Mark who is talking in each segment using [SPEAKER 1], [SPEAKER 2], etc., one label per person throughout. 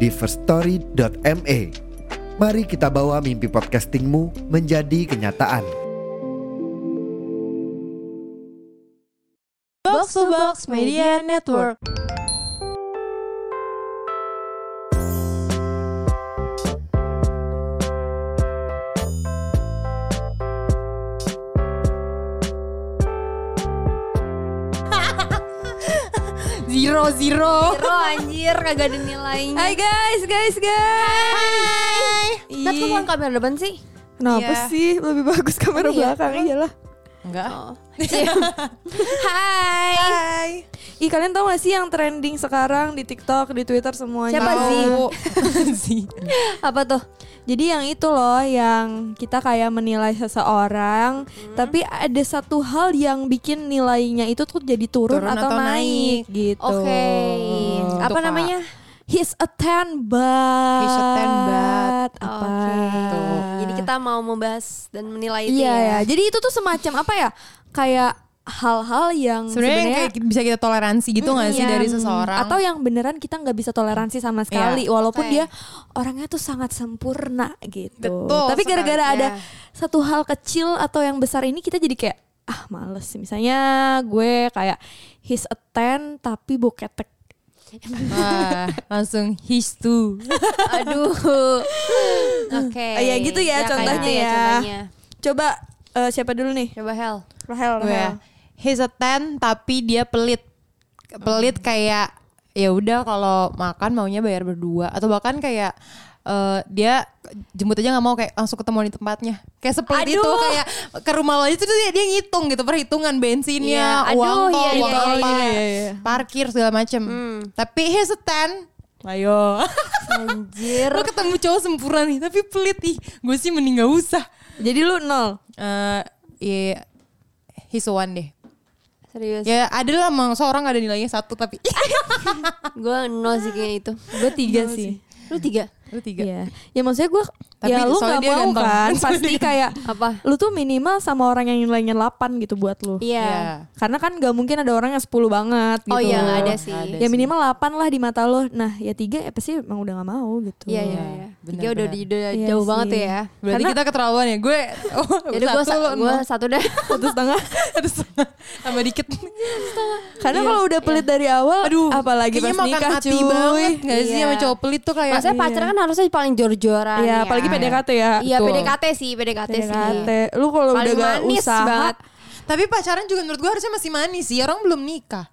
[SPEAKER 1] di firststory.me. Mari kita bawa mimpi podcastingmu menjadi kenyataan.
[SPEAKER 2] Box to Box Media Network.
[SPEAKER 3] Zero, zero.
[SPEAKER 4] Zero anjir kagak ada nilainya.
[SPEAKER 3] Hai guys, guys, guys.
[SPEAKER 4] Nat kamu bukan kamera depan sih?
[SPEAKER 2] Kenapa
[SPEAKER 3] Iya.
[SPEAKER 2] sih lebih bagus kamera
[SPEAKER 4] Emang iya?
[SPEAKER 2] belakang iyalah. Oh.
[SPEAKER 3] Enggak. Iya.
[SPEAKER 4] Hai.
[SPEAKER 2] Ih kalian tahu gak sih yang trending sekarang di TikTok, di Twitter semuanya?
[SPEAKER 4] Siapa
[SPEAKER 2] Tahu.
[SPEAKER 4] sih?
[SPEAKER 3] sih?
[SPEAKER 4] Apa tuh?
[SPEAKER 2] Jadi yang itu loh yang kita kayak menilai seseorang, tapi ada satu hal yang bikin nilainya itu tuh jadi turun,
[SPEAKER 3] Turun
[SPEAKER 2] atau,
[SPEAKER 3] atau
[SPEAKER 2] naik. gitu.
[SPEAKER 4] Oke. Apa
[SPEAKER 3] Kak.
[SPEAKER 4] namanya?
[SPEAKER 2] He's a ten but.
[SPEAKER 3] He's a ten but.
[SPEAKER 2] Apa?
[SPEAKER 4] Tuh. Jadi kita mau membahas dan menilai
[SPEAKER 2] Iya
[SPEAKER 4] itu
[SPEAKER 2] ya.
[SPEAKER 4] ya.
[SPEAKER 2] Jadi itu tuh semacam apa ya? Kayak hal-hal yang
[SPEAKER 3] Sebenarnya yang kayak bisa kita toleransi gitu nggak sih
[SPEAKER 2] Iya.
[SPEAKER 3] dari seseorang? Iya,
[SPEAKER 2] atau yang beneran kita nggak bisa toleransi sama sekali walaupun
[SPEAKER 4] Oke.
[SPEAKER 2] dia orangnya tuh sangat sempurna gitu
[SPEAKER 3] Betul
[SPEAKER 2] tapi
[SPEAKER 3] sekali,
[SPEAKER 2] gara-gara
[SPEAKER 3] ya.
[SPEAKER 2] ada satu hal kecil atau yang besar ini kita jadi kayak ah males misalnya gue kayak he's a ten tapi boketek
[SPEAKER 3] Wah, langsung his to.
[SPEAKER 4] Aduh. Oke.
[SPEAKER 2] Ah, ya gitu ya,
[SPEAKER 4] kayak
[SPEAKER 2] contohnya
[SPEAKER 4] gitu
[SPEAKER 2] ya.
[SPEAKER 4] contohnya.
[SPEAKER 2] coba eh, siapa dulu nih
[SPEAKER 4] Coba Hel.
[SPEAKER 2] Rahel
[SPEAKER 3] Gue.
[SPEAKER 2] Rahel
[SPEAKER 3] He's a ten tapi dia pelit.
[SPEAKER 4] Hmm.
[SPEAKER 3] Pelit kayak ya udah kalau makan maunya bayar berdua atau bahkan kayak eh, dia jemput aja nggak mau kayak langsung ketemu di tempatnya kayak seperti itu
[SPEAKER 4] Aduh.
[SPEAKER 3] kayak ke rumah lo aja terus dia, dia ngitung gitu perhitungan bensinnya
[SPEAKER 4] Iya,
[SPEAKER 3] uang
[SPEAKER 4] aduh,
[SPEAKER 3] tol
[SPEAKER 4] iya,
[SPEAKER 3] uang
[SPEAKER 4] iya,
[SPEAKER 3] apa
[SPEAKER 4] iya, Hmm.
[SPEAKER 3] parkir segala macem tapi he's a ten ayo
[SPEAKER 4] Anjir.
[SPEAKER 3] lo ketemu cowok sempurna nih tapi pelit ih gue sih mending gak usah
[SPEAKER 2] jadi lu nol
[SPEAKER 3] eh iya he's a one deh
[SPEAKER 4] Serius.
[SPEAKER 3] Ya ada lah emang seorang ada nilainya satu tapi
[SPEAKER 4] Gue nol sih kayaknya itu.
[SPEAKER 2] gue tiga sih
[SPEAKER 4] Lu tiga.
[SPEAKER 3] Lu tiga.
[SPEAKER 2] Iya. Ya maksudnya gue
[SPEAKER 3] Tapi
[SPEAKER 2] ya lu
[SPEAKER 3] soalnya
[SPEAKER 2] nggak
[SPEAKER 3] dia
[SPEAKER 2] mau
[SPEAKER 3] ganteng.
[SPEAKER 2] kan
[SPEAKER 3] Soalnya
[SPEAKER 2] pasti
[SPEAKER 3] dia
[SPEAKER 2] kayak
[SPEAKER 4] Apa?
[SPEAKER 2] lu tuh minimal sama orang yang nilainya 8 gitu buat lu.
[SPEAKER 4] Iya.
[SPEAKER 3] Iya.
[SPEAKER 2] Karena kan gak mungkin ada orang yang 10 banget gitu.
[SPEAKER 4] Oh iya nggak ada
[SPEAKER 3] Nggak
[SPEAKER 4] sih.
[SPEAKER 3] ada.
[SPEAKER 2] Ya minimal 8 lah di mata lo. Nah ya 3 ya pasti emang udah gak mau gitu.
[SPEAKER 4] Iya iya.
[SPEAKER 3] Iya,
[SPEAKER 4] iya.
[SPEAKER 3] benar,
[SPEAKER 4] Tiga udah,
[SPEAKER 3] benar.
[SPEAKER 4] udah
[SPEAKER 2] Iya
[SPEAKER 4] jauh
[SPEAKER 2] sih.
[SPEAKER 4] banget tuh ya.
[SPEAKER 3] Berarti
[SPEAKER 2] Karena-
[SPEAKER 3] kita keterlaluan ya. Gue oh,
[SPEAKER 4] Jadi gue
[SPEAKER 3] satu lo
[SPEAKER 4] gua
[SPEAKER 3] nol.
[SPEAKER 4] satu deh.
[SPEAKER 2] Satu setengah.
[SPEAKER 3] Terus tambah dikit.
[SPEAKER 2] Karena
[SPEAKER 4] Iya,
[SPEAKER 2] kalau udah pelit dari awal,
[SPEAKER 3] Aduh,
[SPEAKER 2] apalagi pas
[SPEAKER 3] kayaknya makan
[SPEAKER 2] nikah
[SPEAKER 3] hati
[SPEAKER 2] cuy.
[SPEAKER 3] banget nggak sih
[SPEAKER 4] Iya.
[SPEAKER 3] sama cowok pelit tuh kayak
[SPEAKER 4] Maksudnya pacaran kan harusnya paling jor-joran
[SPEAKER 2] Iya, apalagi PDKT ya.
[SPEAKER 4] kan, Iya
[SPEAKER 3] Betul.
[SPEAKER 4] PDKT sih, PDKT, sih.
[SPEAKER 2] PDKT. Lu kalau udah
[SPEAKER 4] Paling
[SPEAKER 2] gak
[SPEAKER 4] manis
[SPEAKER 2] usaha,
[SPEAKER 4] banget.
[SPEAKER 3] Tapi pacaran juga menurut gue harusnya masih manis sih. Orang belum nikah.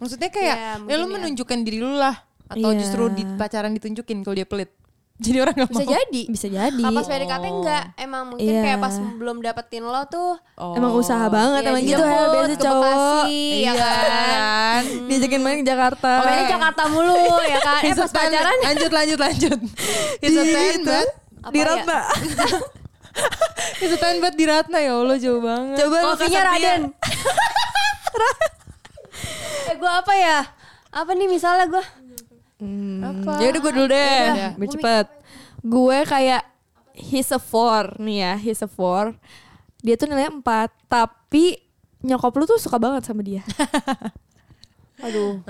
[SPEAKER 3] Maksudnya kayak
[SPEAKER 4] Iya,
[SPEAKER 3] ya lu
[SPEAKER 4] mungkin ya.
[SPEAKER 3] menunjukkan diri lu lah atau
[SPEAKER 2] Iya.
[SPEAKER 3] justru di pacaran ditunjukin kalau dia pelit. Jadi orang gak
[SPEAKER 4] Bisa
[SPEAKER 3] mau.
[SPEAKER 4] jadi.
[SPEAKER 2] bisa jadi.
[SPEAKER 4] Pas PDKT enggak, emang mungkin
[SPEAKER 2] Iya.
[SPEAKER 4] kayak pas belum dapetin lo tuh
[SPEAKER 3] Oh.
[SPEAKER 2] Emang usaha banget,
[SPEAKER 4] ya
[SPEAKER 2] emang gitu
[SPEAKER 4] dijemput
[SPEAKER 2] ya biasa
[SPEAKER 4] ke
[SPEAKER 2] cowok.
[SPEAKER 4] Bekasi,
[SPEAKER 3] Iya
[SPEAKER 4] ya kan.
[SPEAKER 3] kan.
[SPEAKER 2] Diajakin main ke Jakarta.
[SPEAKER 3] Oke.
[SPEAKER 4] Pokoknya Jakarta mulu ya kan. Eh
[SPEAKER 3] He's a
[SPEAKER 4] pas
[SPEAKER 3] ten.
[SPEAKER 4] pacaran
[SPEAKER 3] Lanjut lanjut lanjut. He's a ten but
[SPEAKER 4] Apa
[SPEAKER 2] di
[SPEAKER 4] ya?
[SPEAKER 2] Ratna.
[SPEAKER 3] He's a ten but di Ratna ya Allah jauh banget.
[SPEAKER 2] Coba lu
[SPEAKER 4] kopinya
[SPEAKER 2] kasih dia.
[SPEAKER 4] Raden. eh gue apa ya? Apa nih misalnya gue?
[SPEAKER 3] Apa? Ya udah gue dulu deh.
[SPEAKER 2] Biar cepet. Iya, Gue kayak he's a four nih ya, he's a four. Dia tuh nilai empat, tapi nyokap lu tuh suka banget sama dia.
[SPEAKER 4] Aduh.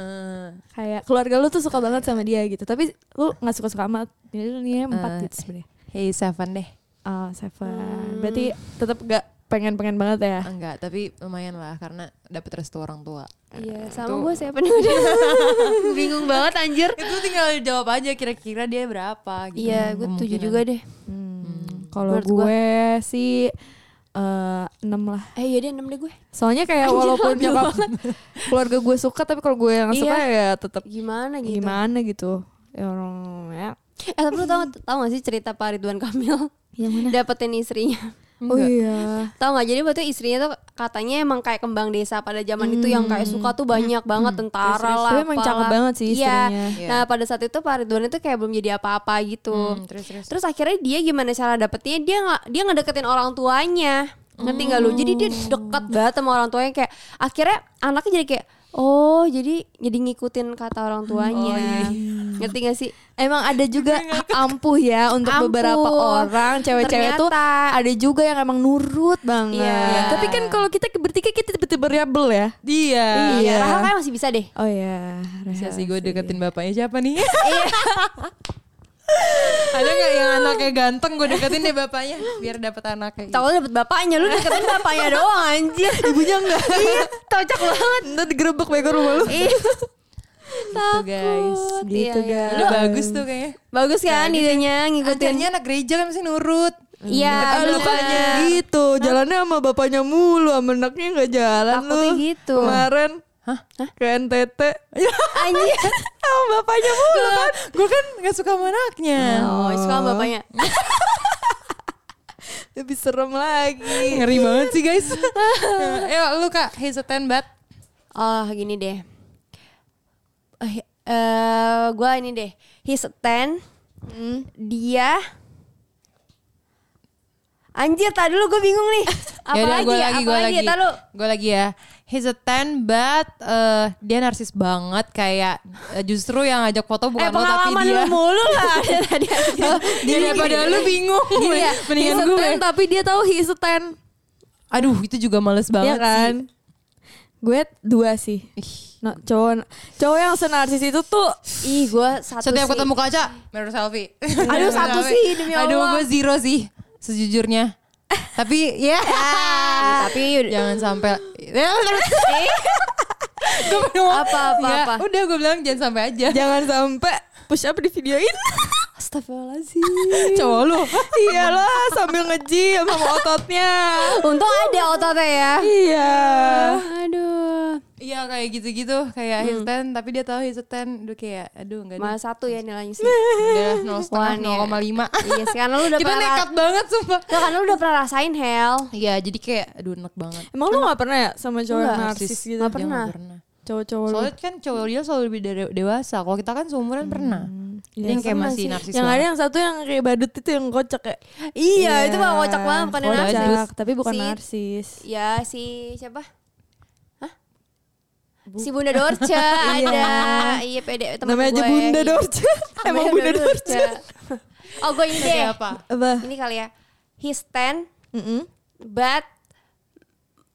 [SPEAKER 2] kayak keluarga lu tuh suka banget sama dia gitu. Tapi lu nggak suka-suka amat. Jadi lu nilainya empat
[SPEAKER 3] Eh.
[SPEAKER 2] gitu sebenarnya.
[SPEAKER 3] Hey Seven deh.
[SPEAKER 2] Ah, seven. Berarti tetap gak pengen-pengen banget ya.
[SPEAKER 3] Ah, Enggak, tapi lumayan lah karena dapet restu orang tua.
[SPEAKER 4] Iya, sama gue siapa
[SPEAKER 2] Hmm,
[SPEAKER 4] nih? Bingung banget anjir.
[SPEAKER 3] Itu tinggal jawab aja kira-kira dia berapa gitu.
[SPEAKER 4] Iya, gue tujuh
[SPEAKER 3] Kemungkinan.
[SPEAKER 4] juga deh.
[SPEAKER 2] Hmm, Kalau
[SPEAKER 4] Menurut
[SPEAKER 2] gue,
[SPEAKER 4] gua-
[SPEAKER 2] sih eh, enam lah.
[SPEAKER 4] Eh iya deh enam deh gue.
[SPEAKER 2] Soalnya kayak
[SPEAKER 4] Anjir,
[SPEAKER 2] walaupun
[SPEAKER 4] ambil
[SPEAKER 2] nyokap keluarga gue suka, tapi kalau gue yang suka ya tetap
[SPEAKER 4] Gimana gitu?
[SPEAKER 2] gimana gitu ya orang ya
[SPEAKER 4] Eh tapi lu tau, tau gak sih cerita Pak Ridwan Kamil
[SPEAKER 2] yang
[SPEAKER 4] dapetin istrinya?
[SPEAKER 2] Oh iya.
[SPEAKER 4] Tahu nggak? Jadi waktu itu istrinya tuh katanya emang kayak kembang desa pada zaman itu yang
[SPEAKER 2] Hmm.
[SPEAKER 4] kayak suka tuh banyak banget tentara
[SPEAKER 2] Iya,
[SPEAKER 4] lah.
[SPEAKER 2] Tapi emang
[SPEAKER 4] apalah.
[SPEAKER 2] cakep banget sih
[SPEAKER 4] Iya.
[SPEAKER 2] istrinya.
[SPEAKER 3] Iya.
[SPEAKER 4] Nah pada saat itu Pak Ridwan itu kayak belum jadi apa-apa gitu.
[SPEAKER 3] Hmm, terus terus.
[SPEAKER 4] Terus akhirnya dia gimana cara dapetnya? Dia nggak dia ngedeketin orang tuanya. Ngerti nggak
[SPEAKER 2] Hmm.
[SPEAKER 4] lu? Jadi dia deket banget sama orang tuanya kayak akhirnya anaknya jadi kayak oh jadi jadi ngikutin kata orang tuanya.
[SPEAKER 2] Oh, iya.
[SPEAKER 4] Ngerti gak sih?
[SPEAKER 2] Emang ada juga ampuh ya untuk
[SPEAKER 4] Ampuh.
[SPEAKER 2] beberapa orang cewek-cewek tuh
[SPEAKER 4] Ternyata.
[SPEAKER 2] ada juga yang emang nurut banget.
[SPEAKER 4] Iya.
[SPEAKER 2] Tapi kan kalau kita bertiga kita tiba-tiba rebel ya.
[SPEAKER 3] Dia.
[SPEAKER 2] Iya.
[SPEAKER 4] Rahel kayak masih bisa deh.
[SPEAKER 2] Oh
[SPEAKER 4] iya,
[SPEAKER 2] ya.
[SPEAKER 3] Bisa Iya sih Iya. gue deketin bapaknya siapa nih? Ada nggak yang anaknya ganteng gue deketin deh bapaknya biar dapet anaknya. gitu.
[SPEAKER 4] Tahu lu dapet bapaknya lu deketin bapaknya doang anjir. Ibunya enggak. iya, tocak banget.
[SPEAKER 2] Ntar digerebek bego rumah lu.
[SPEAKER 4] Ih,
[SPEAKER 3] Gitu guys.
[SPEAKER 2] Gitu
[SPEAKER 4] Iya,
[SPEAKER 2] guys.
[SPEAKER 3] Udah bagus tuh kayaknya.
[SPEAKER 4] Bagus kan idenya
[SPEAKER 3] Acaranya
[SPEAKER 4] ngikutin.
[SPEAKER 3] anak gereja kan mesti nurut.
[SPEAKER 4] Iya,
[SPEAKER 2] Ah, lu kan
[SPEAKER 4] bener.
[SPEAKER 2] gitu, jalannya sama bapaknya
[SPEAKER 4] Eh,
[SPEAKER 2] mulu, sama anaknya nggak jalan
[SPEAKER 4] Takutnya
[SPEAKER 2] lu.
[SPEAKER 4] gitu.
[SPEAKER 2] Kemarin ke NTT
[SPEAKER 4] Anjir.
[SPEAKER 2] sama bapaknya mulu kan.
[SPEAKER 3] Gue kan nggak suka sama anaknya.
[SPEAKER 4] Oh, suka sama bapaknya.
[SPEAKER 2] Lebih serem lagi.
[SPEAKER 3] Ngeri banget sih guys. Ayo lu kak hesitant banget.
[SPEAKER 4] Oh gini deh. Eh, eh, gua ini deh. He's a ten.
[SPEAKER 3] Hmm.
[SPEAKER 4] Dia. Anjir, tadi dulu gue bingung nih. Apa
[SPEAKER 3] Yaudah,
[SPEAKER 4] lagi?
[SPEAKER 3] gua
[SPEAKER 4] ya?
[SPEAKER 3] lagi,
[SPEAKER 4] Apa
[SPEAKER 3] gua
[SPEAKER 4] lagi?
[SPEAKER 3] lagi.
[SPEAKER 4] Tar lu.
[SPEAKER 3] Gue lagi ya. He's a ten but eh, dia narsis banget kayak eh, justru yang ngajak foto bukan
[SPEAKER 4] eh,
[SPEAKER 3] lo tapi
[SPEAKER 4] pengalaman
[SPEAKER 3] dia.
[SPEAKER 4] lu mulu lah. Tadi.
[SPEAKER 3] dia daripada lu bingung.
[SPEAKER 2] Gini ya,
[SPEAKER 3] Mendingan
[SPEAKER 2] he's a
[SPEAKER 3] gue.
[SPEAKER 2] ten, tapi dia tahu he is a ten.
[SPEAKER 3] Aduh itu juga males
[SPEAKER 2] Iya
[SPEAKER 3] banget
[SPEAKER 2] kan?
[SPEAKER 3] sih.
[SPEAKER 2] Gue dua sih.
[SPEAKER 3] Ih.
[SPEAKER 2] No, cowok, cowok yang senarsis itu tuh
[SPEAKER 4] Ih, gue satu
[SPEAKER 3] Setiap
[SPEAKER 4] sih.
[SPEAKER 3] ketemu kaca, mirror selfie.
[SPEAKER 4] Aduh, satu
[SPEAKER 3] Selfie.
[SPEAKER 4] sih, demi
[SPEAKER 3] Aduh
[SPEAKER 4] Allah.
[SPEAKER 3] gue zero sih sejujurnya. tapi ya
[SPEAKER 4] Ah, tapi
[SPEAKER 3] jangan sampai Gua mau ngomong,
[SPEAKER 4] Apa, apa,
[SPEAKER 3] "Nggak,
[SPEAKER 4] apa?"
[SPEAKER 3] udah gue bilang jangan sampai aja
[SPEAKER 2] jangan sampai push up di videoin.
[SPEAKER 4] Astagfirullahaladzim.
[SPEAKER 3] cowok lu
[SPEAKER 2] Iyalah sambil nge-gym sama ototnya.
[SPEAKER 4] Untung ada ototnya ya. Ah,
[SPEAKER 2] Iya.
[SPEAKER 4] Aduh.
[SPEAKER 3] iya kayak gitu-gitu kayak
[SPEAKER 4] Hmm.
[SPEAKER 3] he's a ten, tapi dia tahu he's a ten. Aduh kayak aduh enggak
[SPEAKER 4] Malah satu ya nilainya sih.
[SPEAKER 3] udah nol setengah
[SPEAKER 4] One,
[SPEAKER 3] nol koma lima
[SPEAKER 4] Iya, sih, karena lu udah
[SPEAKER 3] kita
[SPEAKER 4] pernah.
[SPEAKER 3] nekat banget sumpah
[SPEAKER 4] Nggak, karena lu udah pernah rasain hell.
[SPEAKER 3] iya jadi kayak aduh enak banget
[SPEAKER 2] Emang lu gak pernah ya sama cowok yang narsis gitu?
[SPEAKER 4] Nggak pernah.
[SPEAKER 3] Jangan pernah
[SPEAKER 2] Cowok-cowok lu.
[SPEAKER 3] soalnya kan cowok dia selalu lebih de- dewasa kalau kita kan seumuran pernah
[SPEAKER 2] Iya,
[SPEAKER 3] yang kayak
[SPEAKER 2] sama
[SPEAKER 3] masih
[SPEAKER 2] sih.
[SPEAKER 3] narsis
[SPEAKER 2] Yang ada
[SPEAKER 3] banget.
[SPEAKER 2] yang satu yang kayak badut itu yang kocak ya.
[SPEAKER 4] Iya, itu mah kocak banget bukan
[SPEAKER 2] Kocak,
[SPEAKER 4] narsis.
[SPEAKER 2] tapi bukan
[SPEAKER 4] Si-
[SPEAKER 2] narsis.
[SPEAKER 3] Iya,
[SPEAKER 4] Ya si siapa? Hah? Si Bunda Dorce ada. Iya, pede Iya. teman
[SPEAKER 2] Namanya aja Bunda Dorce. Emang Bunda Dorce.
[SPEAKER 4] Oh, gue ini deh.
[SPEAKER 3] apa
[SPEAKER 2] Apa?
[SPEAKER 4] Ini kali ya. He's ten,
[SPEAKER 2] Mm-mm.
[SPEAKER 4] but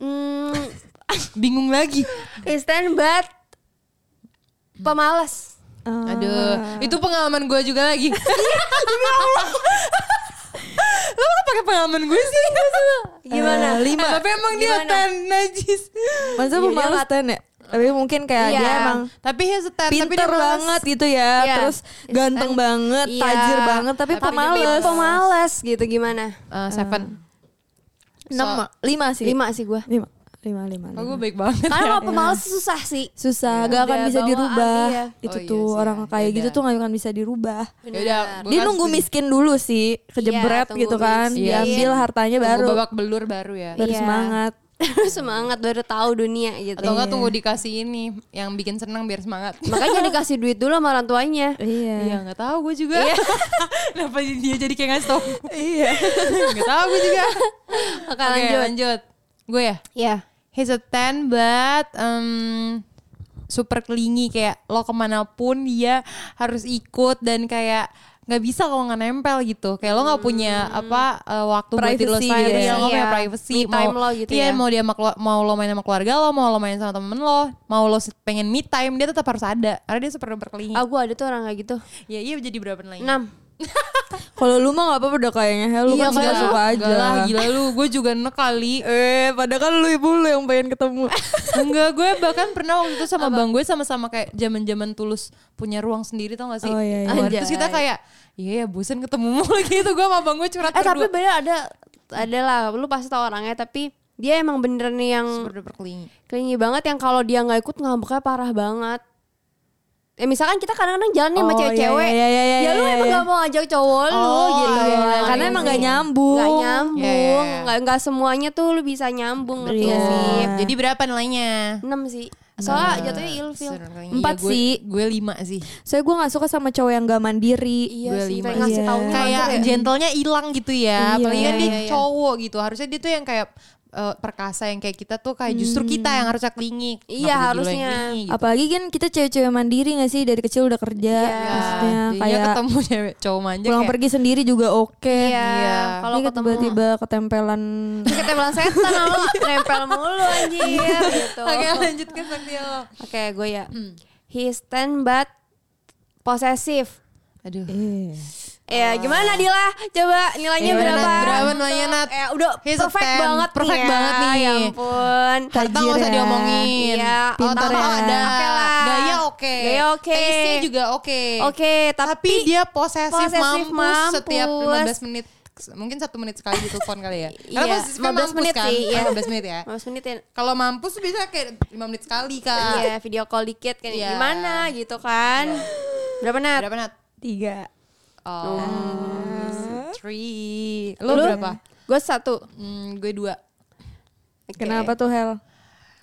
[SPEAKER 4] mm,
[SPEAKER 3] bingung lagi
[SPEAKER 4] he's ten, but pemalas.
[SPEAKER 2] Ah.
[SPEAKER 3] aduh itu pengalaman gue juga lagi lo kok pakai pengalaman gue sih
[SPEAKER 2] Iya,
[SPEAKER 4] Gimana?
[SPEAKER 3] Eh, lima tapi emang dia
[SPEAKER 4] Gimana?
[SPEAKER 3] ten najis
[SPEAKER 2] Masa
[SPEAKER 4] Iya, dia
[SPEAKER 2] pemalas
[SPEAKER 4] nggak-
[SPEAKER 2] ten ya? Tapi mungkin kayak
[SPEAKER 4] Iya.
[SPEAKER 2] dia emang
[SPEAKER 3] tapi he's a ten tapi dia
[SPEAKER 2] pinter
[SPEAKER 3] malas.
[SPEAKER 2] banget gitu ya.
[SPEAKER 4] Iya.
[SPEAKER 2] Terus ganteng
[SPEAKER 4] Ten.
[SPEAKER 2] banget,
[SPEAKER 4] Iya.
[SPEAKER 2] tajir banget tapi,
[SPEAKER 4] Tapi dia
[SPEAKER 2] pemalas.
[SPEAKER 4] Pemalas gitu gimana?
[SPEAKER 3] Eh, seven
[SPEAKER 2] Enam,
[SPEAKER 3] So-
[SPEAKER 2] lima sih.
[SPEAKER 4] Lima sih gue.
[SPEAKER 2] lima, lima, lima.
[SPEAKER 3] oh,
[SPEAKER 2] lima.
[SPEAKER 3] gue baik banget
[SPEAKER 4] Karena
[SPEAKER 3] ya.
[SPEAKER 4] kalau pemalas susah sih.
[SPEAKER 2] Susah, gak akan
[SPEAKER 4] Udah
[SPEAKER 2] bisa
[SPEAKER 4] bawaan
[SPEAKER 2] dirubah.
[SPEAKER 4] dia.
[SPEAKER 2] Itu
[SPEAKER 3] Oh, iya
[SPEAKER 2] tuh
[SPEAKER 3] sih,
[SPEAKER 2] orang
[SPEAKER 3] ya.
[SPEAKER 2] kayak gitu
[SPEAKER 3] Yaudah.
[SPEAKER 2] tuh gak akan bisa dirubah.
[SPEAKER 3] Yaudah, gua
[SPEAKER 2] Dia
[SPEAKER 3] kan
[SPEAKER 2] nunggu
[SPEAKER 3] setuju.
[SPEAKER 2] miskin dulu sih,
[SPEAKER 4] Iya,
[SPEAKER 2] kejebret
[SPEAKER 4] tunggu
[SPEAKER 2] gitu kan,
[SPEAKER 4] miskin.
[SPEAKER 2] diambil hartanya
[SPEAKER 3] Tunggu
[SPEAKER 2] baru
[SPEAKER 3] babak belur baru ya
[SPEAKER 2] baru
[SPEAKER 4] Iya.
[SPEAKER 2] semangat.
[SPEAKER 4] semangat baru tahu dunia gitu.
[SPEAKER 3] atau enggak
[SPEAKER 2] Iya.
[SPEAKER 3] tunggu dikasih ini yang bikin seneng biar semangat
[SPEAKER 4] Makanya dikasih duit dulu sama orang tuanya.
[SPEAKER 2] Iya.
[SPEAKER 3] Iya nggak tahu gue juga. Kenapa dia jadi kayak ngasih tau? Iya. Nggak tahu gue juga.
[SPEAKER 4] Oke,
[SPEAKER 3] Oke lanjut.
[SPEAKER 4] lanjut.
[SPEAKER 3] Gue ya.
[SPEAKER 4] Ya.
[SPEAKER 3] He's a ten but um, super kelingi kayak lo kemanapun dia harus ikut dan kayak nggak bisa kalau nggak nempel gitu kayak lo nggak punya apa eh, waktu buat
[SPEAKER 2] Privacy
[SPEAKER 3] diri lo sendiri
[SPEAKER 2] gitu
[SPEAKER 3] lo
[SPEAKER 2] ya.
[SPEAKER 3] nggak punya
[SPEAKER 4] Iya.
[SPEAKER 3] privacy
[SPEAKER 4] Me time lo gitu
[SPEAKER 3] iya,
[SPEAKER 4] ya.
[SPEAKER 3] mau dia sama kelu- mau lo main sama keluarga lo mau lo main sama temen lo mau lo se- pengen me time dia tetap harus ada karena dia super duper kelingi
[SPEAKER 4] Ah, gue ada tuh orang kayak gitu.
[SPEAKER 3] ya iya jadi berapa lagi
[SPEAKER 4] Enam.
[SPEAKER 2] Kalau lu mah gak apa-apa udah kayaknya, ya, lu
[SPEAKER 3] Iya,
[SPEAKER 2] kan suka
[SPEAKER 3] enggak,
[SPEAKER 2] suka aja.
[SPEAKER 3] enggak lah, gila lu, gue juga enak kali.
[SPEAKER 2] Eh, padahal kan lu ibu lu yang pengen ketemu.
[SPEAKER 3] Enggak, gue bahkan pernah waktu itu sama bang gue sama-sama kayak zaman-zaman tulus punya ruang sendiri tau gak sih?
[SPEAKER 2] Oh, iya, iya.
[SPEAKER 3] Keluar. Terus kita
[SPEAKER 4] Anjay.
[SPEAKER 3] kayak, iya ya bosen ketemu mulu gitu. Gue sama bang gue curhat
[SPEAKER 4] Eh tapi
[SPEAKER 3] berdua.
[SPEAKER 4] bener ada ada lah. Lu pasti tau orangnya tapi dia emang bener nih yang
[SPEAKER 2] Iya.
[SPEAKER 3] berdua berkelingi.
[SPEAKER 4] kelingi banget yang kalau dia nggak ikut ngambeknya parah banget. ya misalkan kita kadang-kadang jalannya sama
[SPEAKER 2] Oh,
[SPEAKER 4] cewek-cewek
[SPEAKER 2] iya, iya, iya,
[SPEAKER 4] ya lu
[SPEAKER 2] iya,
[SPEAKER 4] emang
[SPEAKER 2] iya.
[SPEAKER 4] gak mau ajak cowok lu
[SPEAKER 3] Oh,
[SPEAKER 4] gitu
[SPEAKER 3] iya,
[SPEAKER 4] loh.
[SPEAKER 2] Karena
[SPEAKER 4] Iya
[SPEAKER 2] emang
[SPEAKER 4] sih.
[SPEAKER 2] gak nyambung.
[SPEAKER 4] Gak nyambung
[SPEAKER 3] Iya, iya, iya.
[SPEAKER 4] Gak, gak semuanya tuh lu bisa nyambung Ngerti gak
[SPEAKER 2] Iya.
[SPEAKER 4] sih?
[SPEAKER 2] Nah.
[SPEAKER 3] Jadi berapa nilainya? Iya,
[SPEAKER 4] 6 sih Soalnya jatuhnya ilfil
[SPEAKER 2] Empat sih.
[SPEAKER 3] Gue lima sih.
[SPEAKER 2] Soalnya gue gak suka sama cowok yang gak mandiri.
[SPEAKER 4] Iya
[SPEAKER 3] Gue
[SPEAKER 4] sih
[SPEAKER 3] lima.
[SPEAKER 4] pengen ngasih
[SPEAKER 2] Iya.
[SPEAKER 4] taunya
[SPEAKER 3] Kayak
[SPEAKER 4] langsung ya.
[SPEAKER 3] gentlenya hilang gitu ya.
[SPEAKER 2] Iya.
[SPEAKER 3] Apalagi kan dia
[SPEAKER 4] Iya, iya.
[SPEAKER 3] cowok gitu. Harusnya dia tuh yang kayak eh, perkasa yang kayak kita tuh kayak justru kita
[SPEAKER 2] Hmm.
[SPEAKER 3] yang harusnya klingik. Nggak perlu
[SPEAKER 4] Iya,
[SPEAKER 3] dulu yang
[SPEAKER 4] harusnya.
[SPEAKER 3] klingi gitu.
[SPEAKER 2] Apalagi kan kita cewek-cewek mandiri gak sih dari kecil udah kerja.
[SPEAKER 4] Iya.
[SPEAKER 2] Maksudnya
[SPEAKER 3] Jadinya
[SPEAKER 2] kayak
[SPEAKER 3] ketemu cewek cowok manja
[SPEAKER 2] pulang
[SPEAKER 3] kayak
[SPEAKER 2] pergi sendiri juga oke.
[SPEAKER 4] Iya
[SPEAKER 3] Iya.
[SPEAKER 4] Kalau
[SPEAKER 2] Ini
[SPEAKER 4] ketemu
[SPEAKER 2] tiba-tiba ketempelan.
[SPEAKER 4] Ketempelan setan lu Nempel mulu anjir gitu
[SPEAKER 3] Iya. Oke Hmm. lanjut ke Sakti lo.
[SPEAKER 4] Oke gue ya He stand but Possessive
[SPEAKER 3] Aduh.
[SPEAKER 4] Ya gimana Dila? Coba nilainya
[SPEAKER 3] Ah. Gimana,
[SPEAKER 4] berapa?
[SPEAKER 3] Nat? Berapa
[SPEAKER 4] Untuk-
[SPEAKER 3] nilainya, Nat?
[SPEAKER 4] Ya udah
[SPEAKER 3] He's a
[SPEAKER 4] perfect
[SPEAKER 3] 10.
[SPEAKER 4] banget
[SPEAKER 3] Perfect
[SPEAKER 4] nih ya.
[SPEAKER 3] banget nih.
[SPEAKER 4] Ya ampun.
[SPEAKER 3] Harta nggak usah
[SPEAKER 2] Tajir ya.
[SPEAKER 3] diomongin.
[SPEAKER 4] Iya,
[SPEAKER 3] Pintar
[SPEAKER 2] Pinter
[SPEAKER 3] ya.
[SPEAKER 2] ya.
[SPEAKER 3] ada.
[SPEAKER 4] Oke lah.
[SPEAKER 3] Gaya oke.
[SPEAKER 4] Gaya oke.
[SPEAKER 3] Taste-nya juga oke.
[SPEAKER 4] Oke, tapi,
[SPEAKER 3] Tapi dia posesif,
[SPEAKER 4] posesif
[SPEAKER 3] mampus,
[SPEAKER 4] mampus.
[SPEAKER 3] setiap 15 menit. Mungkin satu menit sekali di telepon kali ya. Karena
[SPEAKER 4] Iya,
[SPEAKER 3] posesif kan
[SPEAKER 4] 15
[SPEAKER 3] mampus
[SPEAKER 4] menit
[SPEAKER 3] kan.
[SPEAKER 4] sih, iya.
[SPEAKER 3] 15 menit ya.
[SPEAKER 4] 15 menit ya.
[SPEAKER 3] Kalau mampus tuh biasanya kayak 5 menit sekali kak.
[SPEAKER 4] Iya, video call dikit
[SPEAKER 3] Ah.
[SPEAKER 4] kan
[SPEAKER 3] Iya.
[SPEAKER 4] gimana gitu kan. Berapa Nat?
[SPEAKER 3] Berapa Nat?
[SPEAKER 2] Tiga.
[SPEAKER 3] Oh, three. Lo berapa?
[SPEAKER 4] Gue satu.
[SPEAKER 3] Hmm, gue dua.
[SPEAKER 4] Oke.
[SPEAKER 2] Kenapa tuh Hel?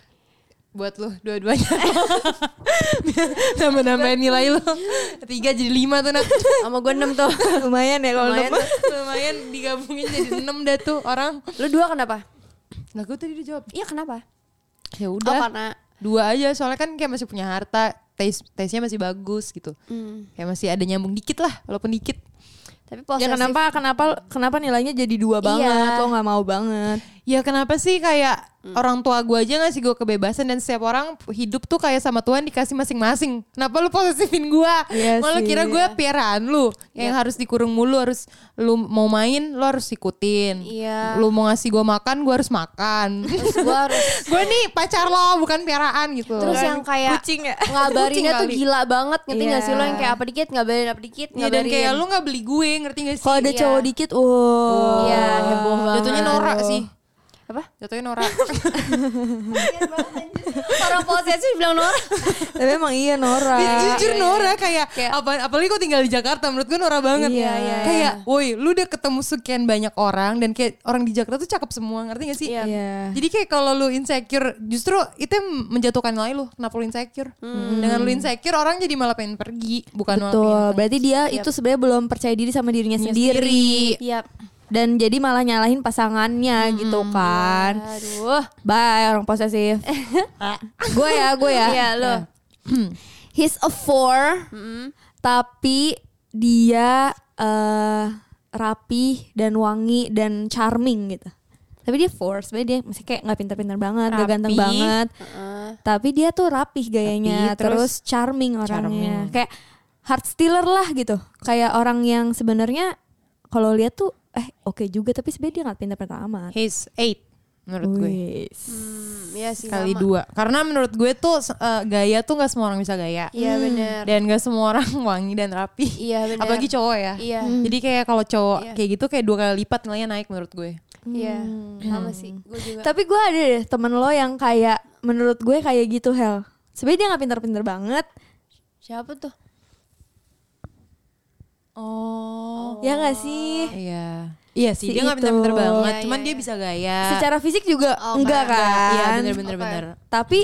[SPEAKER 3] Buat lo dua-duanya. Nambah-nambahin nilai lo. Tiga jadi lima tuh Nat.
[SPEAKER 4] Sama gue 6 tuh.
[SPEAKER 2] Lumayan ya kalau
[SPEAKER 4] Lumayan.
[SPEAKER 2] nemu.
[SPEAKER 3] Lumayan digabungin jadi enam dah tuh orang.
[SPEAKER 4] Lu dua kenapa?
[SPEAKER 3] Nah gue tadi dijawab.
[SPEAKER 4] Iya kenapa?
[SPEAKER 3] Ya
[SPEAKER 4] Oh
[SPEAKER 3] udah.
[SPEAKER 4] karena
[SPEAKER 3] dua aja soalnya kan kayak masih punya harta taste taste nya masih bagus gitu
[SPEAKER 4] Hmm.
[SPEAKER 3] kayak masih ada nyambung dikit lah walaupun dikit
[SPEAKER 4] tapi
[SPEAKER 2] Ya
[SPEAKER 4] posesif.
[SPEAKER 2] kenapa kenapa kenapa nilainya jadi dua banget?
[SPEAKER 4] Iya.
[SPEAKER 2] Lo nggak mau banget.
[SPEAKER 3] ya kenapa sih kayak
[SPEAKER 4] Hmm.
[SPEAKER 3] orang tua gue aja ngasih gue kebebasan dan setiap orang hidup tuh kayak sama Tuhan dikasih masing-masing kenapa lu posesifin gue
[SPEAKER 2] Iya
[SPEAKER 3] malah
[SPEAKER 2] sih.
[SPEAKER 3] kira gue piaraan lu
[SPEAKER 4] Iya.
[SPEAKER 3] yang harus dikurung mulu harus lu mau main lu harus ikutin
[SPEAKER 4] Iya.
[SPEAKER 3] lu mau ngasih gue makan gue harus makan
[SPEAKER 4] Terus gue harus
[SPEAKER 3] gue nih pacar lo bukan piaraan gitu
[SPEAKER 4] Terus yang kayak
[SPEAKER 2] Kucing ya?
[SPEAKER 4] ngabarinnya tuh
[SPEAKER 3] Kucing kali.
[SPEAKER 4] gila banget ngerti nggak
[SPEAKER 2] Iya.
[SPEAKER 4] sih lo yang kayak apa dikit ngabarin apa dikit
[SPEAKER 3] Iya, dan
[SPEAKER 4] ngabarin.
[SPEAKER 3] kayak lu nggak beli gue ngerti gak sih
[SPEAKER 2] Kalau ada
[SPEAKER 4] Iya.
[SPEAKER 2] cowok dikit, wow.
[SPEAKER 4] Iya, heboh banget.
[SPEAKER 3] Jatuhnya norak
[SPEAKER 2] Aduh.
[SPEAKER 3] sih.
[SPEAKER 4] Apa?
[SPEAKER 3] Jatuhnya norak.
[SPEAKER 4] Orang posesif bilang Nora.
[SPEAKER 2] Tapi emang iya Nora.
[SPEAKER 3] Jujur norak kayak,
[SPEAKER 4] Kayak-
[SPEAKER 3] apa apalagi kok tinggal di Jakarta menurut gue norak banget.
[SPEAKER 2] Iya, iya,
[SPEAKER 3] Kayak, woi, lu udah ketemu sekian banyak orang dan kayak orang di Jakarta tuh cakep semua, ngerti gak sih?
[SPEAKER 4] Iya.
[SPEAKER 2] Iya.
[SPEAKER 3] Jadi kayak kalau lu insecure, justru itu yang menjatuhkan nilai lu. Kenapa lu insecure?
[SPEAKER 4] Hmm.
[SPEAKER 3] Dengan lu insecure orang jadi malah pengen pergi, bukan malah
[SPEAKER 2] Betul.
[SPEAKER 3] pengen-
[SPEAKER 2] Berarti dia itu sebenarnya belum percaya diri sama Iya. dirinya sendiri.
[SPEAKER 4] Iya.
[SPEAKER 2] Dan jadi malah nyalahin pasangannya gitu kan.
[SPEAKER 4] Aduh.
[SPEAKER 2] Bye orang posesif. gue ya, gue ya.
[SPEAKER 4] Iya lo.
[SPEAKER 2] He's a four, tapi dia eh rapi dan wangi dan charming gitu. Tapi dia four, sebenarnya dia masih kayak nggak pinter-pinter banget, nggak
[SPEAKER 3] Rapi.
[SPEAKER 2] ganteng banget. Tapi dia tuh rapih
[SPEAKER 3] Rapi,
[SPEAKER 2] gayanya,
[SPEAKER 3] terus
[SPEAKER 2] terus, charming orangnya, kayak heart stealer lah gitu. Kayak orang yang sebenarnya kalau lihat tuh eh oke juga, tapi sebenarnya dia nggak pinter-pinter amat.
[SPEAKER 3] He's eight Iya, menurut gue.
[SPEAKER 2] Wis.
[SPEAKER 4] Hmm, Iya sih.
[SPEAKER 3] Kali
[SPEAKER 4] sama.
[SPEAKER 3] dua. Karena menurut gue tuh eh, gaya tuh nggak semua orang bisa gaya.
[SPEAKER 4] Iya benar.
[SPEAKER 3] dan gak semua orang wangi dan rapi.
[SPEAKER 4] Iya, benar.
[SPEAKER 3] Apalagi cowok ya.
[SPEAKER 4] Iya.
[SPEAKER 3] Jadi kayak kalau cowok
[SPEAKER 4] Iya.
[SPEAKER 3] kayak gitu kayak dua kali lipat nilainya naik menurut gue.
[SPEAKER 4] Iya.
[SPEAKER 3] Hmm.
[SPEAKER 4] Sama sih. Gue juga.
[SPEAKER 2] Tapi gue ada deh temen lo yang kayak menurut gue kayak gitu Hel. Sebenarnya dia nggak pinter-pinter banget,
[SPEAKER 4] Siapa tuh?
[SPEAKER 3] Oh.
[SPEAKER 2] ya nggak sih?
[SPEAKER 3] Iya. Iya sih,
[SPEAKER 2] Si
[SPEAKER 3] dia gak
[SPEAKER 2] itu.
[SPEAKER 3] pintar-pintar banget,
[SPEAKER 4] Iya,
[SPEAKER 3] cuman
[SPEAKER 4] iya,
[SPEAKER 3] dia bisa gaya.
[SPEAKER 2] Secara fisik juga
[SPEAKER 4] Oh,
[SPEAKER 2] enggak
[SPEAKER 4] enggak,
[SPEAKER 2] kan?
[SPEAKER 3] Iya, bener-bener
[SPEAKER 4] Oke.
[SPEAKER 3] bener. Hmm.
[SPEAKER 2] Tapi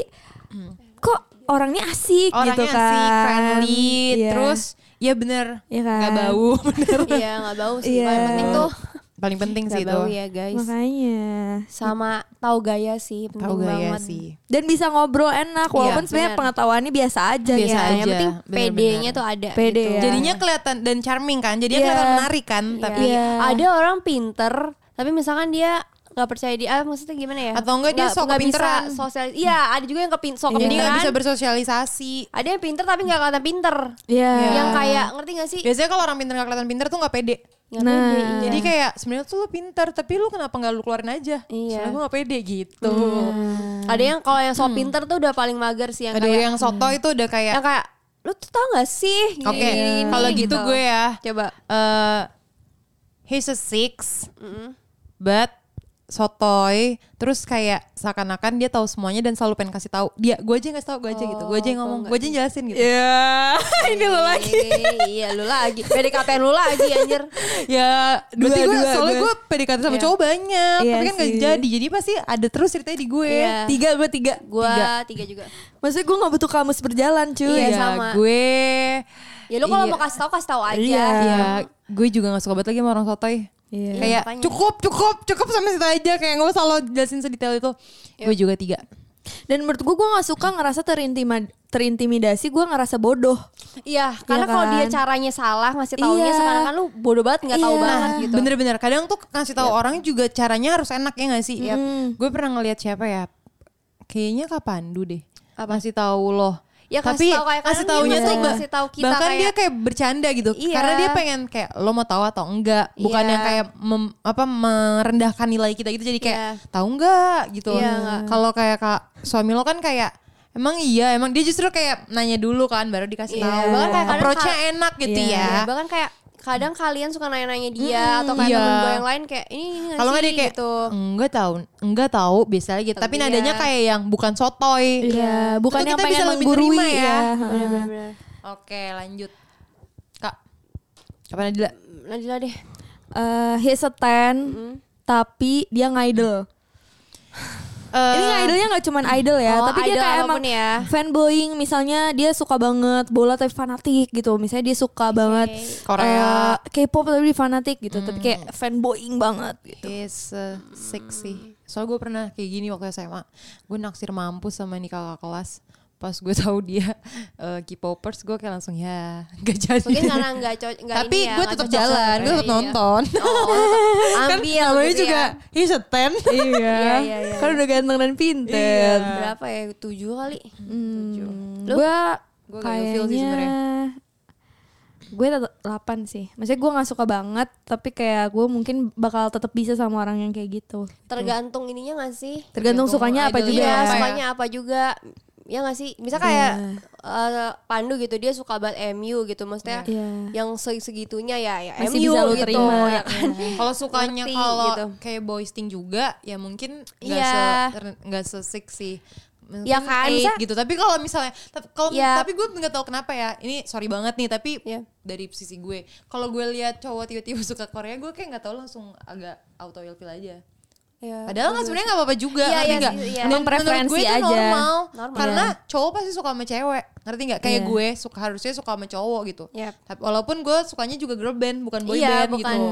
[SPEAKER 2] kok orangnya asik gitu
[SPEAKER 3] Orangnya
[SPEAKER 2] kan?
[SPEAKER 3] sih friendly,
[SPEAKER 2] Iya.
[SPEAKER 3] terus ya bener,
[SPEAKER 2] Iya kan?
[SPEAKER 3] gak bau, bener.
[SPEAKER 4] Iya nggak bau sih.
[SPEAKER 2] Iya.
[SPEAKER 4] Paling penting tuh
[SPEAKER 3] Paling penting sih
[SPEAKER 4] nggak
[SPEAKER 3] itu.
[SPEAKER 4] bau ya guys.
[SPEAKER 2] Makanya.
[SPEAKER 4] Sama tahu gaya sih penting
[SPEAKER 3] Tahu gaya
[SPEAKER 4] banget.
[SPEAKER 3] sih.
[SPEAKER 2] Dan bisa ngobrol enak walaupun
[SPEAKER 4] Iya,
[SPEAKER 2] sebenarnya
[SPEAKER 4] bener.
[SPEAKER 2] pengetahuannya biasa aja
[SPEAKER 3] Biasa
[SPEAKER 2] ya.
[SPEAKER 4] Iya, Yang
[SPEAKER 3] aja,
[SPEAKER 4] penting
[SPEAKER 3] benar-benar.
[SPEAKER 4] PD-nya tuh ada.
[SPEAKER 2] Pede
[SPEAKER 4] gitu.
[SPEAKER 2] ya.
[SPEAKER 3] Jadinya kelihatan dan charming kan, jadinya
[SPEAKER 2] Iya.
[SPEAKER 3] kelihatan menarik kan, tapi
[SPEAKER 4] Iya.
[SPEAKER 2] Iya.
[SPEAKER 4] Ada orang pinter, tapi misalkan dia nggak percaya diri, ah, maksudnya gimana ya?
[SPEAKER 3] Atau enggak dia
[SPEAKER 4] Nggak-
[SPEAKER 3] sok
[SPEAKER 4] nggak bisa
[SPEAKER 3] kepinteran.
[SPEAKER 4] Sosial, iya ada juga yang kepin, sok
[SPEAKER 2] Iya.
[SPEAKER 3] jadi
[SPEAKER 4] kepinteran.
[SPEAKER 3] gak bisa bersosialisasi.
[SPEAKER 4] ada yang pinter tapi nggak kelihatan pinter.
[SPEAKER 2] Iya.
[SPEAKER 4] Yang kayak ngerti gak sih?
[SPEAKER 3] Biasanya kalau orang pintar gak kelihatan pintar tuh gak pede.
[SPEAKER 4] Nggak
[SPEAKER 2] Nah.
[SPEAKER 4] pede, iya.
[SPEAKER 3] Jadi kayak sebenarnya tuh lu pintar, tapi lu kenapa nggak lu keluarin aja?
[SPEAKER 4] Iya.
[SPEAKER 3] Soalnya gue gak pede gitu.
[SPEAKER 4] ada yang kalau yang
[SPEAKER 3] Hmm.
[SPEAKER 4] sok pinter tuh udah paling mager sih yang
[SPEAKER 3] Aduh
[SPEAKER 4] kayak hmm.
[SPEAKER 3] yang soto itu udah kayak
[SPEAKER 4] yang kayak lu tuh tau gak sih?
[SPEAKER 3] oke
[SPEAKER 4] Gini-gini,
[SPEAKER 3] kalau gitu gue ya
[SPEAKER 4] coba
[SPEAKER 3] eh he's a six
[SPEAKER 4] Mm-mm.
[SPEAKER 3] but sotoy terus kayak seakan-akan dia tahu semuanya dan selalu pengen kasih tahu dia gue aja yang kasih tahu gue aja gitu gue aja yang
[SPEAKER 4] Oh,
[SPEAKER 3] ngomong
[SPEAKER 4] kok nggak
[SPEAKER 3] gue
[SPEAKER 4] Iya.
[SPEAKER 3] aja yang jelasin gitu
[SPEAKER 2] Ya, ini lo
[SPEAKER 4] Eh, iya lu lagi. PDKT lu lagi anjir.
[SPEAKER 3] ya berarti
[SPEAKER 2] Dua,
[SPEAKER 3] gue
[SPEAKER 2] dua,
[SPEAKER 3] soalnya
[SPEAKER 2] dua.
[SPEAKER 3] gue PDKT sama
[SPEAKER 2] Iya.
[SPEAKER 3] cowok banyak
[SPEAKER 2] Iya
[SPEAKER 3] tapi kan gak
[SPEAKER 2] sih.
[SPEAKER 3] jadi jadi pasti ada terus ceritanya di gue
[SPEAKER 4] Iya.
[SPEAKER 3] tiga gue tiga
[SPEAKER 4] Gua tiga juga.
[SPEAKER 2] Maksudnya gue gak butuh kamus berjalan cuy.
[SPEAKER 4] Iya,
[SPEAKER 3] iya
[SPEAKER 4] sama.
[SPEAKER 3] gue
[SPEAKER 4] Ya lu kalau
[SPEAKER 3] Iya.
[SPEAKER 4] mau kasih tahu kasih tahu aja.
[SPEAKER 2] Iya.
[SPEAKER 3] iya gue juga gak suka banget lagi sama orang sotoy
[SPEAKER 2] Iya.
[SPEAKER 3] kayak
[SPEAKER 4] makanya.
[SPEAKER 3] cukup cukup cukup sampai situ aja kayak nggak usah lo jelasin sedetail itu
[SPEAKER 4] Iya.
[SPEAKER 3] gue juga tiga
[SPEAKER 2] Dan menurut gue gue gak suka ngerasa terintima- terintimidasi, gue ngerasa bodoh.
[SPEAKER 4] Iya, karena kalau
[SPEAKER 2] kan?
[SPEAKER 4] dia caranya salah ngasih taunya
[SPEAKER 2] Iya.
[SPEAKER 4] sekarang kan lu bodoh banget nggak tahu
[SPEAKER 2] Iya.
[SPEAKER 4] banget gitu. Iya.
[SPEAKER 3] bener-bener kadang tuh ngasih tahu orang juga caranya harus enak ya nggak sih
[SPEAKER 4] Mm-hmm.
[SPEAKER 3] gue pernah ngelihat siapa ya kayaknya kapandu deh masih tahu loh
[SPEAKER 4] Ya,
[SPEAKER 3] tapi
[SPEAKER 4] kasih tahu kayak
[SPEAKER 3] kasih
[SPEAKER 4] kadang
[SPEAKER 3] taunya
[SPEAKER 4] dia
[SPEAKER 3] tuh
[SPEAKER 4] sering
[SPEAKER 3] bah-
[SPEAKER 4] ngasih tahu kita
[SPEAKER 3] bahkan
[SPEAKER 4] kayak-
[SPEAKER 3] dia kayak bercanda gitu
[SPEAKER 4] Iya.
[SPEAKER 3] karena dia pengen kayak lo mau tahu atau enggak bukan
[SPEAKER 4] Iya.
[SPEAKER 3] yang kayak mem- apa merendahkan nilai kita gitu jadi kayak
[SPEAKER 4] Iya.
[SPEAKER 3] tahu enggak gitu
[SPEAKER 4] Iya, enggak.
[SPEAKER 3] kalau kayak kak suami lo kan kayak emang iya emang dia justru kayak nanya dulu kan baru dikasih
[SPEAKER 4] Iya.
[SPEAKER 3] tahu bahkan kayak
[SPEAKER 4] Kadang
[SPEAKER 3] approach-nya
[SPEAKER 4] kak-
[SPEAKER 3] enak gitu
[SPEAKER 2] Iya.
[SPEAKER 3] ya
[SPEAKER 4] Iya, bahkan kayak kadang kalian suka nanya-nanya dia atau kayak
[SPEAKER 3] iya.
[SPEAKER 4] temen gue yang lain kayak ini, ini nggak
[SPEAKER 3] Kalau nggak
[SPEAKER 4] sih?"
[SPEAKER 3] dia kayak
[SPEAKER 4] gitu.
[SPEAKER 3] enggak tahu, enggak tahu biasa lagi. Tapi
[SPEAKER 4] Iya.
[SPEAKER 3] nadanya kayak yang bukan sotoy.
[SPEAKER 2] Iya, bukan
[SPEAKER 3] Itu
[SPEAKER 2] yang
[SPEAKER 3] kita
[SPEAKER 2] pengen
[SPEAKER 3] bisa lebih
[SPEAKER 2] menggurui
[SPEAKER 3] terima ya.
[SPEAKER 4] iya.
[SPEAKER 2] ya.
[SPEAKER 4] Bener-bener.
[SPEAKER 3] Oke, lanjut. Kak. Kapan Adila?
[SPEAKER 4] Nadila deh.
[SPEAKER 2] Eh, he's a ten, tapi dia ngidol.
[SPEAKER 3] Eh.
[SPEAKER 2] Ini idolnya nggak cuman idol ya,
[SPEAKER 4] Eh. Oh,
[SPEAKER 2] tapi dia
[SPEAKER 4] idol
[SPEAKER 2] kayak
[SPEAKER 4] apapun
[SPEAKER 2] emang
[SPEAKER 4] ya.
[SPEAKER 2] fanboying. Misalnya dia suka banget bola tapi fanatik gitu. Misalnya dia suka banget
[SPEAKER 3] Korea.
[SPEAKER 2] eh, K-pop tapi dia fanatik gitu. Tapi kayak fanboying banget gitu.
[SPEAKER 4] Eh,
[SPEAKER 3] Is uh, sexy. Soalnya gue pernah kayak gini waktu SMA. Gue naksir mampus sama ini kakak kelas. Pas gue tahu dia eh, K-popers, gue kayak langsung ya gak jadi.
[SPEAKER 4] Mungkin karena nggak cocok
[SPEAKER 3] Tapi gue tetap jalan, gue tetap nonton.
[SPEAKER 4] Oh, tetap
[SPEAKER 3] Kan
[SPEAKER 4] ambil
[SPEAKER 3] namanya
[SPEAKER 4] gitu
[SPEAKER 3] juga
[SPEAKER 4] ya.
[SPEAKER 3] he's a ten.
[SPEAKER 2] Iya,
[SPEAKER 4] iya, iya.
[SPEAKER 2] kan udah ganteng dan
[SPEAKER 3] Iya,
[SPEAKER 2] pinter.
[SPEAKER 4] Berapa ya? Tujuh kali.
[SPEAKER 2] Hmm,
[SPEAKER 4] Lu?
[SPEAKER 2] gue
[SPEAKER 3] Gua gak ilfeel sih
[SPEAKER 2] kayaknya
[SPEAKER 3] sebenarnya.
[SPEAKER 2] gue tetap 8 sih. Maksudnya gue nggak suka banget, tapi kayak gue mungkin bakal tetap bisa sama orang yang kayak gitu.
[SPEAKER 4] Tergantung ininya nggak sih?
[SPEAKER 2] Tergantung sukanya apa
[SPEAKER 3] idolnya
[SPEAKER 2] juga.
[SPEAKER 4] Iya,
[SPEAKER 3] apa ya? Iya.
[SPEAKER 4] sukanya apa juga. Ya nggak sih? Misal kayak eh, Pandu gitu, dia suka banget MU gitu. Maksudnya
[SPEAKER 2] Iya.
[SPEAKER 4] yang se- segitunya ya, ya
[SPEAKER 2] Masih
[SPEAKER 4] MU
[SPEAKER 2] bisa lu
[SPEAKER 4] gitu.
[SPEAKER 2] terima.
[SPEAKER 4] Ya kan?
[SPEAKER 3] Kalau sukanya
[SPEAKER 4] Ngerti,
[SPEAKER 3] kalau
[SPEAKER 4] gitu.
[SPEAKER 3] kayak boys thing juga ya mungkin nggak
[SPEAKER 4] Iya.
[SPEAKER 3] se nggak se sexy. Mungkin
[SPEAKER 4] Ya kan,
[SPEAKER 3] eight
[SPEAKER 4] bisa-
[SPEAKER 3] gitu. Tapi kalau misalnya tapi kalau
[SPEAKER 4] Ya.
[SPEAKER 3] tapi gue nggak tahu kenapa ya. Ini sorry banget nih tapi
[SPEAKER 4] Ya.
[SPEAKER 3] dari sisi gue kalau gue lihat cowok tiba-tiba suka Korea gue kayak nggak tahu langsung agak auto ilfil aja.
[SPEAKER 4] Iya.
[SPEAKER 3] Padahal kan sebenarnya nggak apa-apa juga,
[SPEAKER 4] Iya,
[SPEAKER 3] ngerti
[SPEAKER 4] iya,
[SPEAKER 3] nggak?
[SPEAKER 4] iya.
[SPEAKER 3] Dan
[SPEAKER 2] Emang
[SPEAKER 3] menurut
[SPEAKER 2] preferensi
[SPEAKER 3] gue itu
[SPEAKER 2] aja.
[SPEAKER 3] Normal,
[SPEAKER 4] Normal. Iya.
[SPEAKER 3] Karena cowok pasti suka sama cewek, ngerti nggak? Kayak
[SPEAKER 2] Iya.
[SPEAKER 3] gue suka harusnya suka sama cowok gitu.
[SPEAKER 4] Yap.
[SPEAKER 3] Tapi walaupun gue sukanya juga girl band, bukan boy
[SPEAKER 4] Iya,
[SPEAKER 3] band
[SPEAKER 4] bukan.
[SPEAKER 3] gitu.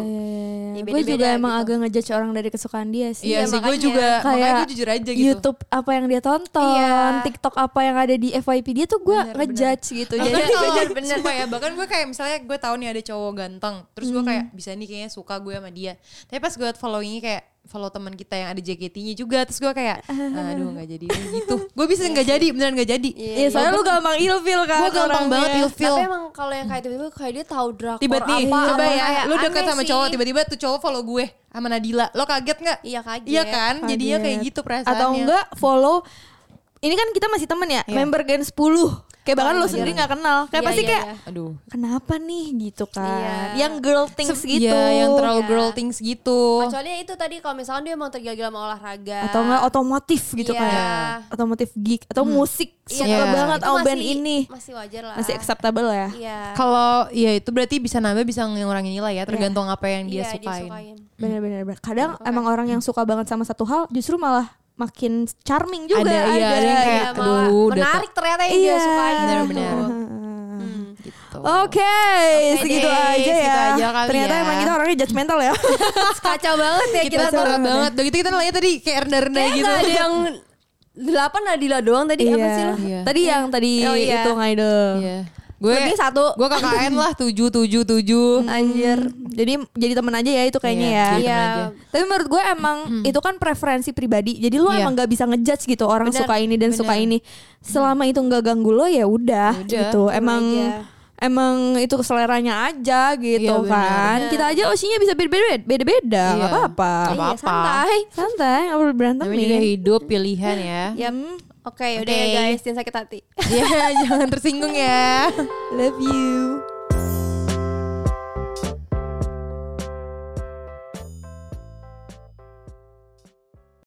[SPEAKER 4] Ya,
[SPEAKER 2] gue
[SPEAKER 4] beda-beda
[SPEAKER 2] juga emang
[SPEAKER 4] gitu.
[SPEAKER 2] agak ngejudge orang dari kesukaan dia sih.
[SPEAKER 3] Iya
[SPEAKER 4] Iya,
[SPEAKER 3] sih, gue
[SPEAKER 4] makanya.
[SPEAKER 3] juga. makanya
[SPEAKER 2] Kayak
[SPEAKER 3] gue jujur aja gitu.
[SPEAKER 2] YouTube apa yang dia tonton,
[SPEAKER 4] Iya.
[SPEAKER 2] TikTok apa yang ada di FYP dia tuh gue ngejudge gitu.
[SPEAKER 3] Bahkan
[SPEAKER 2] Jadi
[SPEAKER 3] kalau- sumpah ya, bahkan gue kayak misalnya gue tahu nih ada cowok ganteng, terus gue kayak bisa nih kayaknya suka gue sama dia. Tapi pas gue liat followingnya kayak follow teman kita yang ada JKT-nya juga, terus gue kayak, aduh nggak jadi deh," gitu. Gue bisa nggak jadi, beneran nggak jadi.
[SPEAKER 2] Iya, soalnya lu gampang ilfil kan.
[SPEAKER 3] Gue gampang
[SPEAKER 2] orangnya.
[SPEAKER 3] banget ilfil.
[SPEAKER 4] Tapi emang kalau yang kayak tiba-tiba kayak dia tahu drakor
[SPEAKER 3] Tiba-tiba,
[SPEAKER 4] apa,
[SPEAKER 3] coba
[SPEAKER 4] atau
[SPEAKER 3] ya,
[SPEAKER 4] kayak
[SPEAKER 3] lu deket
[SPEAKER 4] aneh
[SPEAKER 3] sama
[SPEAKER 4] sih.
[SPEAKER 3] cowok, tiba-tiba tuh cowok follow gue sama Nadila. Lo kaget nggak?
[SPEAKER 4] Iya, kaget.
[SPEAKER 3] Iya kan, jadinya kayak
[SPEAKER 2] Kaget.
[SPEAKER 3] gitu perasaannya.
[SPEAKER 2] Atau enggak follow ini kan kita masih temen ya, member Gen 10. Kayak bahkan lo sendiri nggak kenal. Kayak
[SPEAKER 4] Iya,
[SPEAKER 2] pasti
[SPEAKER 4] iya,
[SPEAKER 2] kayak
[SPEAKER 4] iya.
[SPEAKER 3] Aduh.
[SPEAKER 2] kenapa nih gitu kan.
[SPEAKER 4] Iya.
[SPEAKER 2] Yang girl things
[SPEAKER 3] Se-
[SPEAKER 2] gitu.
[SPEAKER 3] Iya, yang terlalu
[SPEAKER 4] Iya.
[SPEAKER 3] girl things gitu.
[SPEAKER 4] Kecuali ya itu tadi kalau misalkan dia mau tergila-gila sama olahraga.
[SPEAKER 2] atau enggak otomotif gitu
[SPEAKER 4] Iya.
[SPEAKER 2] kayak otomotif geek atau musik suka
[SPEAKER 3] Iya.
[SPEAKER 2] banget
[SPEAKER 4] Itu
[SPEAKER 2] sama
[SPEAKER 4] masih-
[SPEAKER 2] band ini
[SPEAKER 4] Masih wajar lah.
[SPEAKER 2] masih acceptable ya
[SPEAKER 4] Iya.
[SPEAKER 3] Kalau ya itu berarti bisa nambah bisa ngurangin nilai ya tergantung apa yang dia
[SPEAKER 4] Iya,
[SPEAKER 3] sukain.
[SPEAKER 2] benar-benar benar. kadang emang orang yang suka banget sama satu hal justru malah makin charming juga
[SPEAKER 3] Ada, iya, ada yang kayak,
[SPEAKER 4] Iya, malah
[SPEAKER 3] aduh, udah
[SPEAKER 4] menarik ternyata yang dia
[SPEAKER 2] Iya.
[SPEAKER 4] sukain.
[SPEAKER 3] Benar-benar.
[SPEAKER 2] Hmm.
[SPEAKER 3] Gitu.
[SPEAKER 2] Oke, segitu
[SPEAKER 3] deh,
[SPEAKER 2] aja ya.
[SPEAKER 3] segitu aja kali
[SPEAKER 2] Ternyata
[SPEAKER 3] ya.
[SPEAKER 2] emang kita orangnya judgmental ya.
[SPEAKER 4] Kacau banget ya kita,
[SPEAKER 3] Kita
[SPEAKER 4] tuh.
[SPEAKER 3] parah banget. Udah gitu kita nilainya tadi kayak rendah-rendah
[SPEAKER 4] Kayak
[SPEAKER 3] gitu.
[SPEAKER 4] nggak ada yang delapan Nadila doang tadi apa sih lu?
[SPEAKER 3] Iya.
[SPEAKER 2] Tadi yang tadi
[SPEAKER 4] Oh, iya.
[SPEAKER 2] itu ngidol.
[SPEAKER 3] Iya. Gue
[SPEAKER 4] Lebih satu. Nah,
[SPEAKER 3] Gue KKN lah 777.
[SPEAKER 2] Anjir. Jadi jadi temen aja ya itu kayaknya
[SPEAKER 3] Iya,
[SPEAKER 2] ya.
[SPEAKER 3] jadi
[SPEAKER 4] Iya.
[SPEAKER 3] aja.
[SPEAKER 2] Tapi menurut gue emang itu kan preferensi pribadi. Jadi lu
[SPEAKER 3] Iya.
[SPEAKER 2] emang gak bisa ngejudge gitu orang
[SPEAKER 3] Bener,
[SPEAKER 2] suka ini dan
[SPEAKER 3] bener.
[SPEAKER 2] suka ini. Selama itu nggak ganggu lo ya udah
[SPEAKER 3] Yaudah,
[SPEAKER 2] gitu. Emang
[SPEAKER 4] aja.
[SPEAKER 2] emang itu seleranya aja gitu
[SPEAKER 3] Iya, bener.
[SPEAKER 2] kan. Kita aja osinya bisa beda-beda, beda-beda,
[SPEAKER 3] Iya.
[SPEAKER 2] nggak apa-apa.
[SPEAKER 3] Nggak apa-apa.
[SPEAKER 2] santai, santai, nggak perlu berantem ya. Hmm.
[SPEAKER 3] Namanya juga
[SPEAKER 2] nih.
[SPEAKER 3] hidup pilihan ya.
[SPEAKER 2] Yap.
[SPEAKER 4] Oke, udah ya
[SPEAKER 3] Oke.
[SPEAKER 4] guys, jangan sakit hati.
[SPEAKER 3] Iya, jangan tersinggung ya.
[SPEAKER 2] Love you.